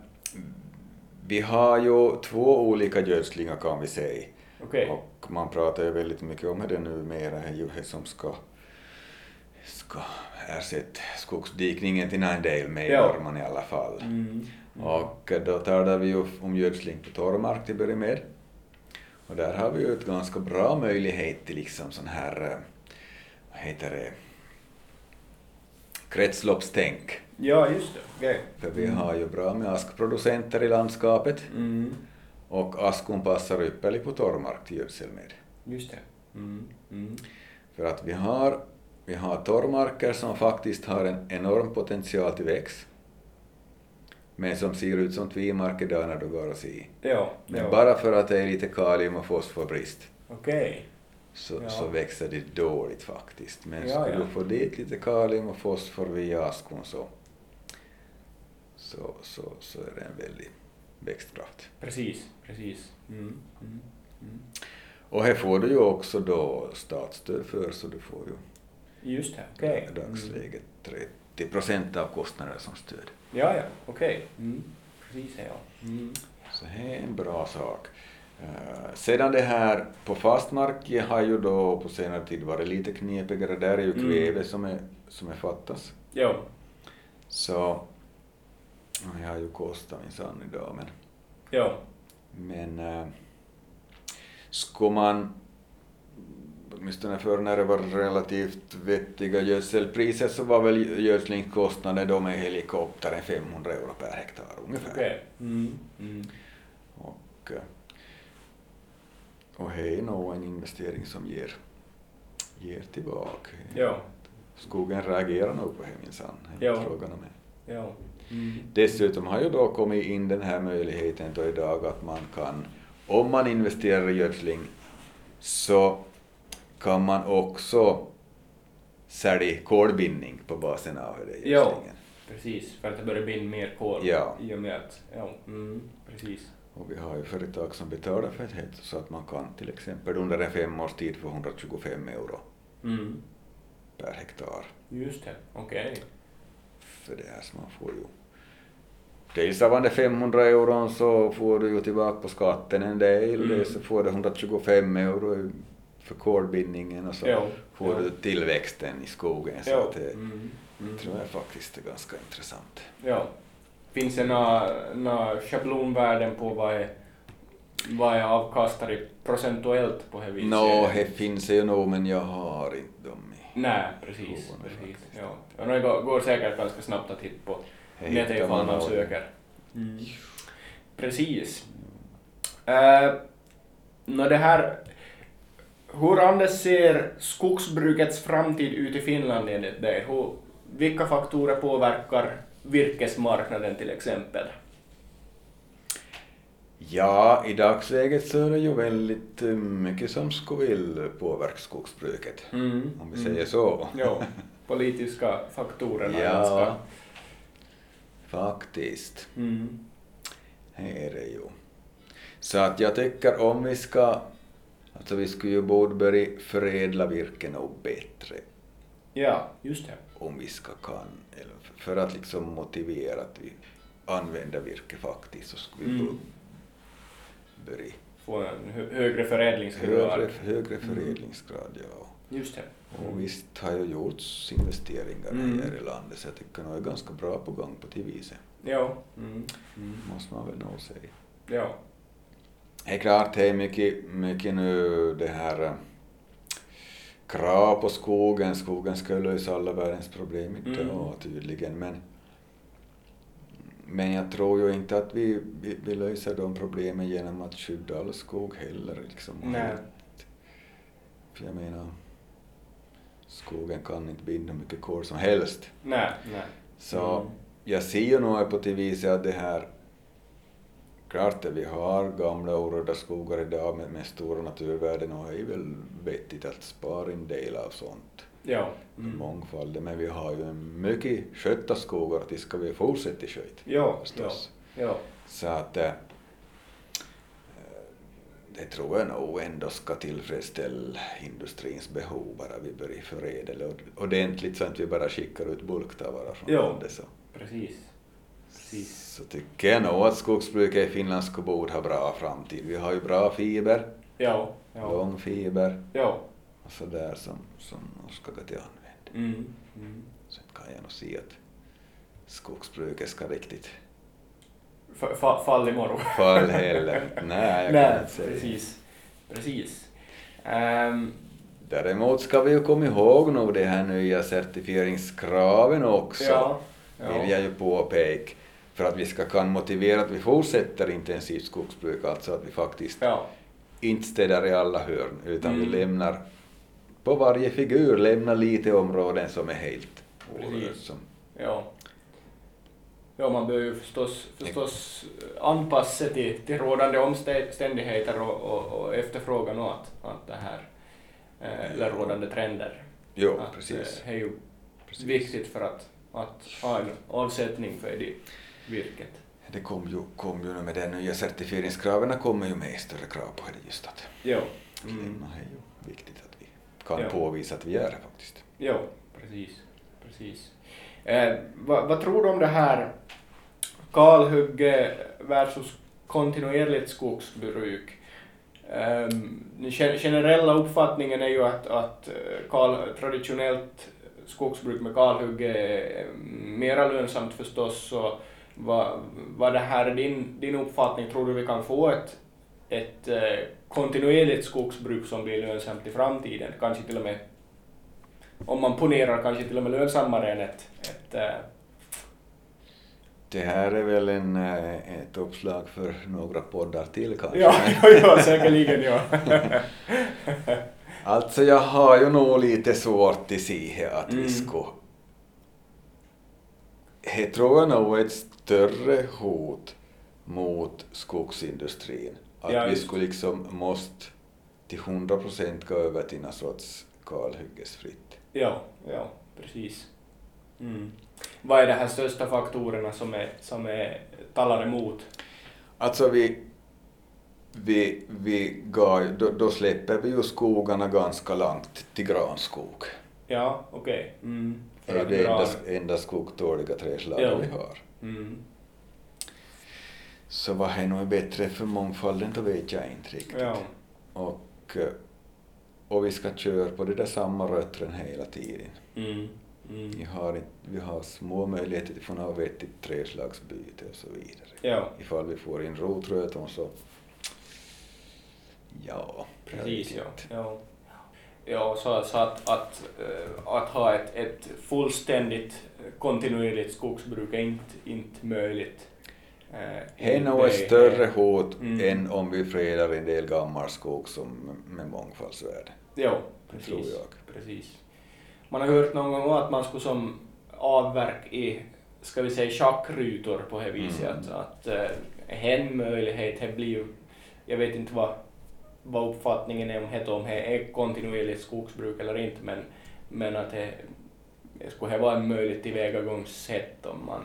[SPEAKER 2] vi har ju två olika gödslingar kan vi säga.
[SPEAKER 1] Okej.
[SPEAKER 2] Och man pratar ju väldigt mycket om det numera, det är ju det som ska, ska ersätta skogsdikningen till Ninedale med
[SPEAKER 1] Ja.
[SPEAKER 2] man i alla fall.
[SPEAKER 1] Mm.
[SPEAKER 2] Och då talar vi ju om gödsling på torrmark till att börja med. Och där har vi ju ett ganska bra möjlighet till liksom sån här, eh, vad heter det, kretsloppstänk.
[SPEAKER 1] Ja, just det. Okej.
[SPEAKER 2] För vi har ju bra med askproducenter i landskapet
[SPEAKER 1] Mm.
[SPEAKER 2] och askon passar ypperligt på torrmark till gödsel med.
[SPEAKER 1] Just det. Mm. Mm.
[SPEAKER 2] För att vi har, vi har torrmarker som faktiskt har en enorm potential till växt men som ser ut som tvimarker där när du går och ser.
[SPEAKER 1] Ja,
[SPEAKER 2] Men
[SPEAKER 1] ja.
[SPEAKER 2] bara för att det är lite kalium och fosforbrist.
[SPEAKER 1] Okej.
[SPEAKER 2] så,
[SPEAKER 1] Ja.
[SPEAKER 2] så växer det dåligt faktiskt. Men
[SPEAKER 1] Ja,
[SPEAKER 2] skulle
[SPEAKER 1] ja.
[SPEAKER 2] du få dit lite kalium och fosfor via askon så, så, så, så är det en väldig växtkraft.
[SPEAKER 1] Precis, precis. Mm. Mm.
[SPEAKER 2] Och här får du ju också då statsstöd för så du får ju
[SPEAKER 1] Just det,
[SPEAKER 2] i
[SPEAKER 1] okej. Mm.
[SPEAKER 2] dagsläget 30 procent av kostnaderna som stöd.
[SPEAKER 1] Ja, ja, okej. Mm. Precis, ja. Mm.
[SPEAKER 2] Så det är en bra sak. Eh, Sedan det här på fast mark har ju då på senare tid varit lite knepigare. Där är ju
[SPEAKER 1] Mm.
[SPEAKER 2] kväve som, är, som är fattas.
[SPEAKER 1] Jo,
[SPEAKER 2] Så jag har ju kostat minsann idag men,
[SPEAKER 1] jo.
[SPEAKER 2] men äh, ska man åtminstone förr när det var relativt vettiga gödselpriser så var väl gödslingskostnaden då med helikoptern 500 euro per hektar ungefär.
[SPEAKER 1] Okej. Mm. Mm.
[SPEAKER 2] Och, eh, och det är nog en investering som ger, ger tillbaka.
[SPEAKER 1] Jo,
[SPEAKER 2] Skogen reagerar nog på det minsann. det är
[SPEAKER 1] Ja.
[SPEAKER 2] frågan om det.
[SPEAKER 1] jo. Mm.
[SPEAKER 2] Dessutom har ju då kommit in den här möjligheten då idag att man kan, om man investerar i gödsling, så kan man också sälja kolbindning på basen av den
[SPEAKER 1] Ja.
[SPEAKER 2] gödslingen.
[SPEAKER 1] Precis, för att det börjar binda mer kol
[SPEAKER 2] Ja.
[SPEAKER 1] i och med att... Ja, mm. precis.
[SPEAKER 2] Och vi har ju företag som betalar för det, så att man kan till exempel under en femårstid få 125 euro
[SPEAKER 1] Mm.
[SPEAKER 2] per hektar
[SPEAKER 1] Just det, okej.
[SPEAKER 2] för det här. Så man får ju... Dels av de 500 euron så får du ju tillbaka på skatten en del,
[SPEAKER 1] Mm.
[SPEAKER 2] dels så får du 125 euro för kolbindningen och så
[SPEAKER 1] Ja,
[SPEAKER 2] får
[SPEAKER 1] ja.
[SPEAKER 2] du tillväxten i skogen. Så
[SPEAKER 1] Jo.
[SPEAKER 2] att det
[SPEAKER 1] Mm. Mm.
[SPEAKER 2] tror jag faktiskt är ganska intressant.
[SPEAKER 1] Ja. Finns det några, några schablonvärden på vad jag, vad jag avkastar i procentuellt på det viset?
[SPEAKER 2] Nå, det finns ju nog, men jag har inte dem i...
[SPEAKER 1] Nej, precis.
[SPEAKER 2] Proven,
[SPEAKER 1] precis.
[SPEAKER 2] faktiskt.
[SPEAKER 1] Ja. Ja, det går, går säkert ganska snabbt att hitta på
[SPEAKER 2] Det
[SPEAKER 1] nätet
[SPEAKER 2] hittar
[SPEAKER 1] ifall man
[SPEAKER 2] nog.
[SPEAKER 1] söker. Mm. Precis. Uh, det här, hur Anders ser skogsbrukets framtid ut i Finland enligt dig? Hur, vilka faktorer påverkar virkesmarknaden till exempel?
[SPEAKER 2] Ja, i dagsläget så är det ju väldigt eh, mycket som skulle vilja påverka skogsbruket.
[SPEAKER 1] Mm.
[SPEAKER 2] Om vi
[SPEAKER 1] mm.
[SPEAKER 2] säger så.
[SPEAKER 1] Jo, politiska faktorerna är
[SPEAKER 2] Ja,
[SPEAKER 1] ganska...
[SPEAKER 2] faktiskt.
[SPEAKER 1] Mm.
[SPEAKER 2] Här är det ju. Så att jag tycker om vi ska, alltså vi skulle ju borde börja förädla virke nog bättre
[SPEAKER 1] Ja, just det.
[SPEAKER 2] om vi ska kan, eller f- för att liksom motivera att vi använder virke faktiskt så skulle vi
[SPEAKER 1] Mm.
[SPEAKER 2] bo- börja
[SPEAKER 1] Få en hö- högre förädlingsgrad.
[SPEAKER 2] högre, högre
[SPEAKER 1] Mm.
[SPEAKER 2] förädlingsgrad. Ja.
[SPEAKER 1] Just det.
[SPEAKER 2] Och visst har ju gjorts investeringar
[SPEAKER 1] Mm.
[SPEAKER 2] här i landet så jag tycker nog är ganska bra på gång på det viset,
[SPEAKER 1] Ja. Mm. Mm.
[SPEAKER 2] måste man väl nog säga.
[SPEAKER 1] Ja.
[SPEAKER 2] Det är klart, det är mycket, mycket nu det här eh, krav på skogen. Skogen ska ju lösa alla världens problem inte
[SPEAKER 1] Mm.
[SPEAKER 2] ja, tydligen. Men, men jag tror ju inte att vi, vi, vi löser de problemen genom att skydda all skog heller. Liksom. Och
[SPEAKER 1] Nej.
[SPEAKER 2] helt- För jag menar, skogen kan inte binda hur mycket kol som helst.
[SPEAKER 1] Nej. Nej.
[SPEAKER 2] Så
[SPEAKER 1] Mm.
[SPEAKER 2] jag ser ju nog på det viset att det här... Klart att vi har gamla orörda skogar idag med, med stora naturvärden och det är väl vettigt att spara en del av sånt,
[SPEAKER 1] Ja.
[SPEAKER 2] mm. mångfalden. Men vi har ju en mycket skötta skogar och det ska vi fortsätta sköta
[SPEAKER 1] Ja, ja,
[SPEAKER 2] förstås.
[SPEAKER 1] ja.
[SPEAKER 2] Så att eh, det tror jag nog ändå ska tillfredsställa industrins behov bara vi börjar förädla ordentligt så att vi bara skickar ut bulktavara från
[SPEAKER 1] Ja.
[SPEAKER 2] landet. Så.
[SPEAKER 1] Precis. Precis.
[SPEAKER 2] Så tycker jag nog att skogsbruket i Finland skulle borde ha bra framtid. Vi har ju bra fiber,
[SPEAKER 1] Ja. Ja.
[SPEAKER 2] lång fiber
[SPEAKER 1] Ja.
[SPEAKER 2] och sådär som, som nog ska gå till användning.
[SPEAKER 1] Mm. Mm.
[SPEAKER 2] Sen kan jag nog se att skogsbruket ska riktigt
[SPEAKER 1] F- fa- fall imorgon.
[SPEAKER 2] fall heller. Nej, jag kan
[SPEAKER 1] Nej,
[SPEAKER 2] inte säga.
[SPEAKER 1] precis. Precis. Ehm,
[SPEAKER 2] Däremot ska vi ju komma ihåg nog de här nya certifieringskraven också.
[SPEAKER 1] ja. ja.
[SPEAKER 2] vill jag ju påpeka. För att vi ska kan motivera att vi fortsätter intensivt skogsbruk, alltså att vi faktiskt
[SPEAKER 1] Ja.
[SPEAKER 2] inte städar i alla hörn, utan
[SPEAKER 1] Mm.
[SPEAKER 2] vi lämnar på varje figur lämnar lite områden som är helt
[SPEAKER 1] Precis.
[SPEAKER 2] orört, som
[SPEAKER 1] Ja. Ja, man bör ju förstås, förstås anpassa sig till, till rådande omständigheter och, och, och efterfrågan och att, att det här eh, eller rådande trender.
[SPEAKER 2] Jo,
[SPEAKER 1] att,
[SPEAKER 2] precis.
[SPEAKER 1] eh, Det är ju
[SPEAKER 2] precis.
[SPEAKER 1] viktigt för att, att ha en avsättning för det virket.
[SPEAKER 2] Det kom ju, kom ju nu med den nya certifieringskraven kommer ju med större krav på det just att
[SPEAKER 1] Jo.
[SPEAKER 2] kvinna är ju viktigt att vi kan
[SPEAKER 1] Mm. Ja.
[SPEAKER 2] påvisa att vi är det faktiskt.
[SPEAKER 1] Jo, precis. precis. Eh, vad, vad tror du om det här kalhygge versus kontinuerligt skogsbruk? Eh, den gen- generella uppfattningen är ju att, att eh, kal, traditionellt skogsbruk med kalhygge är mera lönsamt förstås. Så vad, vad det här är din, din uppfattning? Tror du vi kan få ett, ett eh, kontinuerligt skogsbruk som blir lönsamt i framtiden? Kanske till och med om man ponerar kanske till och med lönsammare än ett, ett eh,
[SPEAKER 2] Det här är väl en, eh, ett uppslag för några poddar till kanske.
[SPEAKER 1] ja, ja, ja, säkerligen ja.
[SPEAKER 2] Alltså jag har ju nog lite svårt i se att
[SPEAKER 1] Mm.
[SPEAKER 2] vi ska... Det tror jag nog är ett större hot mot skogsindustrin. Att
[SPEAKER 1] Ja,
[SPEAKER 2] vi
[SPEAKER 1] just.
[SPEAKER 2] skulle liksom måste till 100 procent gå över till någon sorts kalhyggesfritt.
[SPEAKER 1] ja, ja, precis. Mm. Vad är de här största faktorerna som, är, som är, talar emot?
[SPEAKER 2] Alltså vi, vi, vi gav, då, då släpper vi ju skogarna ganska långt till granskog.
[SPEAKER 1] Ja, okej. Mm.
[SPEAKER 2] Det
[SPEAKER 1] För
[SPEAKER 2] är
[SPEAKER 1] att
[SPEAKER 2] det
[SPEAKER 1] dra-
[SPEAKER 2] enda, enda skogtåliga träslag
[SPEAKER 1] Ja.
[SPEAKER 2] vi har.
[SPEAKER 1] Mm.
[SPEAKER 2] Så vad är nog bättre för mångfalden, då vet jag inte riktigt.
[SPEAKER 1] Ja,
[SPEAKER 2] Och, eh, och vi ska köra på de där samma rötterna hela tiden.
[SPEAKER 1] mm.
[SPEAKER 2] Vi
[SPEAKER 1] Mm.
[SPEAKER 2] har, inte- vi har små möjligheter till att få något vettigt träslagsbyte och så vidare.
[SPEAKER 1] ja
[SPEAKER 2] Ifall vi får in rotrötan så... Ja, jag
[SPEAKER 1] precis.
[SPEAKER 2] vet
[SPEAKER 1] Ja,
[SPEAKER 2] inte.
[SPEAKER 1] ja. ja så, så att, att, eh, att ha ett, ett fullständigt eh, kontinuerligt skogsbruk är inte, inte möjligt. Eh,
[SPEAKER 2] Det är nog
[SPEAKER 1] det-
[SPEAKER 2] ett större hot
[SPEAKER 1] Mm.
[SPEAKER 2] än om vi fredar en del gammal skog som med mångfaldsvärde,
[SPEAKER 1] Ja,
[SPEAKER 2] tror
[SPEAKER 1] precis.
[SPEAKER 2] jag.
[SPEAKER 1] precis. Man har hört någon gång att man skulle som avverk i, ska vi säga, schackrutor på det viset.
[SPEAKER 2] Mm.
[SPEAKER 1] Att, att eh, en möjlighet, det blir ju, jag vet inte vad, vad uppfattningen är om det, om det är kontinuerligt skogsbruk eller inte, men, men att det, det skulle det vara en möjligt tillvägagångssätt om man...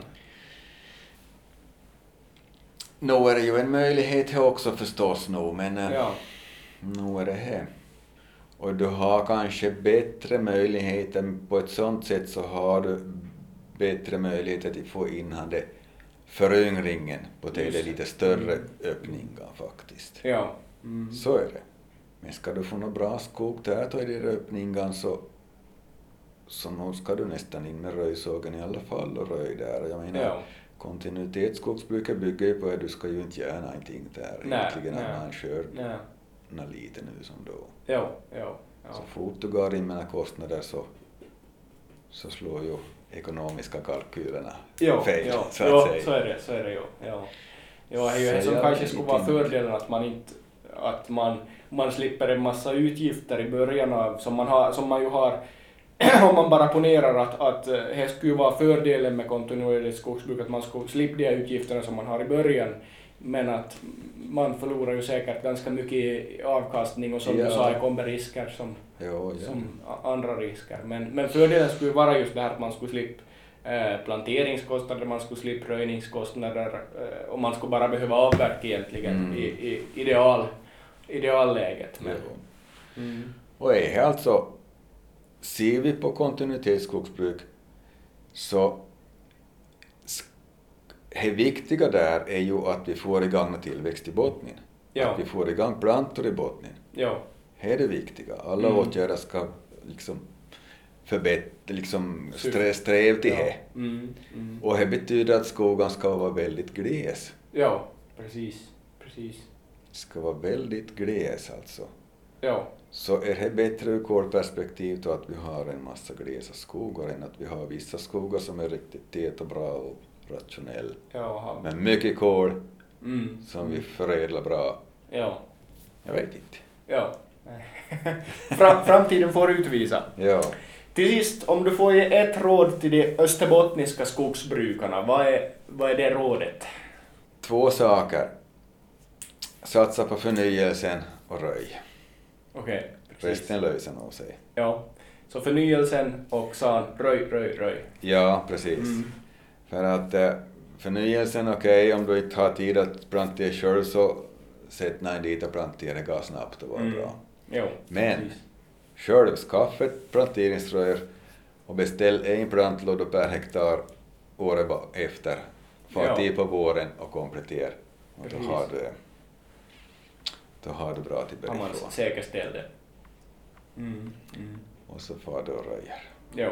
[SPEAKER 2] Nu är det ju en möjlighet här också förstås nog, men eh,
[SPEAKER 1] Ja,
[SPEAKER 2] nu är det här. Och du har kanske bättre möjligheter, på ett sånt sätt så har du bättre möjligheter att få in han det föryngringen på det
[SPEAKER 1] Just
[SPEAKER 2] där
[SPEAKER 1] det.
[SPEAKER 2] lite större
[SPEAKER 1] Mm.
[SPEAKER 2] öppningar faktiskt.
[SPEAKER 1] ja. Mm.
[SPEAKER 2] Så är det. Men ska du få någon bra skog där då i den öppningen så så nog ska du nästan in med röjsågen i alla fall och röj där. Och jag menar,
[SPEAKER 1] Ja,
[SPEAKER 2] kontinuitetsskogsbruket bygger ju på att du ska ju inte göra någonting där
[SPEAKER 1] Nej,
[SPEAKER 2] egentligen,
[SPEAKER 1] nej.
[SPEAKER 2] att man kör
[SPEAKER 1] ja,
[SPEAKER 2] nå lite nu som då.
[SPEAKER 1] ja, ja. ja.
[SPEAKER 2] Så fort du går in med några kostnader så, så slår ju ekonomiska kalkylerna
[SPEAKER 1] Jo,
[SPEAKER 2] fel,
[SPEAKER 1] jo,
[SPEAKER 2] så
[SPEAKER 1] jo,
[SPEAKER 2] att säga.
[SPEAKER 1] så är det, så är det ju. Ja. Jo, det är ju
[SPEAKER 2] Så
[SPEAKER 1] det som
[SPEAKER 2] jag
[SPEAKER 1] kanske
[SPEAKER 2] vet
[SPEAKER 1] skulle vara
[SPEAKER 2] inte.
[SPEAKER 1] fördelen att man inte, att man, man slipper en massa utgifter i början av, som man, har, som man ju har om man bara ponerar att, att eh, det skulle ju vara fördelen med kontinuerligt skogsbruk, att man skulle slippa de utgifterna som man har i början, men att man förlorar ju säkert ganska mycket i avkastning och som
[SPEAKER 2] Ja.
[SPEAKER 1] du sa, det kommer risker som,
[SPEAKER 2] Jo, ja.
[SPEAKER 1] som a- andra risker. Men, men fördelen skulle ju vara just det här att man skulle slippa eh, planteringskostnader, man skulle slippa röjningskostnader eh, och man skulle bara behöva avverka egentligen
[SPEAKER 2] Mm.
[SPEAKER 1] i, i ideal, idealläget. Men,
[SPEAKER 2] Jo.
[SPEAKER 1] mm.
[SPEAKER 2] Och är det alltså, ser vi på kontinuitetsskogsbruk så sk- det viktiga där är ju att vi får igång tillväxt i bottnen.
[SPEAKER 1] Ja,
[SPEAKER 2] Att vi får igång plantor i bottnen.
[SPEAKER 1] ja,
[SPEAKER 2] Det är det viktiga. Alla
[SPEAKER 1] Mm.
[SPEAKER 2] åtgärder ska liksom förbättra, liksom
[SPEAKER 1] Syfte.
[SPEAKER 2] strä, sträv till
[SPEAKER 1] ja.
[SPEAKER 2] det.
[SPEAKER 1] Mm, mm.
[SPEAKER 2] Och det betyder att skogen ska vara väldigt gles.
[SPEAKER 1] ja, precis, precis.
[SPEAKER 2] Ska vara väldigt gles alltså.
[SPEAKER 1] Ja,
[SPEAKER 2] Så är det bättre ur kolperspektiv då att vi har en massa glesa skogar än att vi har vissa skogar som är riktigt tät och bra och rationell.
[SPEAKER 1] ja,
[SPEAKER 2] Men mycket kol
[SPEAKER 1] mm.
[SPEAKER 2] som vi förädlar bra.
[SPEAKER 1] ja,
[SPEAKER 2] Jag vet inte.
[SPEAKER 1] ja. Fram, framtiden får utvisa.
[SPEAKER 2] Ja.
[SPEAKER 1] Till sist, om du får ge ett råd till de österbottniska skogsbrukarna, vad är, vad är det rådet?
[SPEAKER 2] Två saker. Satsa på förnyelsen och röj.
[SPEAKER 1] Okej, Precis.
[SPEAKER 2] Resten löser nog sig.
[SPEAKER 1] Ja. Så förnyelsen och san, röj, röj, röj.
[SPEAKER 2] Ja, precis.
[SPEAKER 1] Mm.
[SPEAKER 2] För att eh, förnyelsen, okej, om du inte har tid att plantera själv så sätt någon dit och plantera gas snabbt, det var
[SPEAKER 1] Mm.
[SPEAKER 2] bra.
[SPEAKER 1] Jo,
[SPEAKER 2] Men-
[SPEAKER 1] precis.
[SPEAKER 2] Själv, skaffa ett planteringsrör och beställ en plantlåda per hektar året ba- efter. Far
[SPEAKER 1] Ja.
[SPEAKER 2] till på våren och komplettera. Och då
[SPEAKER 1] Precis.
[SPEAKER 2] har du, då har du bra till
[SPEAKER 1] Har man
[SPEAKER 2] bergfrån.
[SPEAKER 1] säkerställt det. Mm. Mm.
[SPEAKER 2] Och så far du och röjer.
[SPEAKER 1] Jo,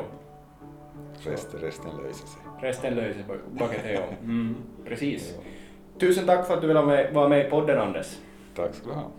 [SPEAKER 2] Resten, resten löser sig.
[SPEAKER 1] resten löser bucket är om. Mm. Precis. Tusen tack för att du ville vara med- vara med i podden Anders.
[SPEAKER 2] Tack ska du ha.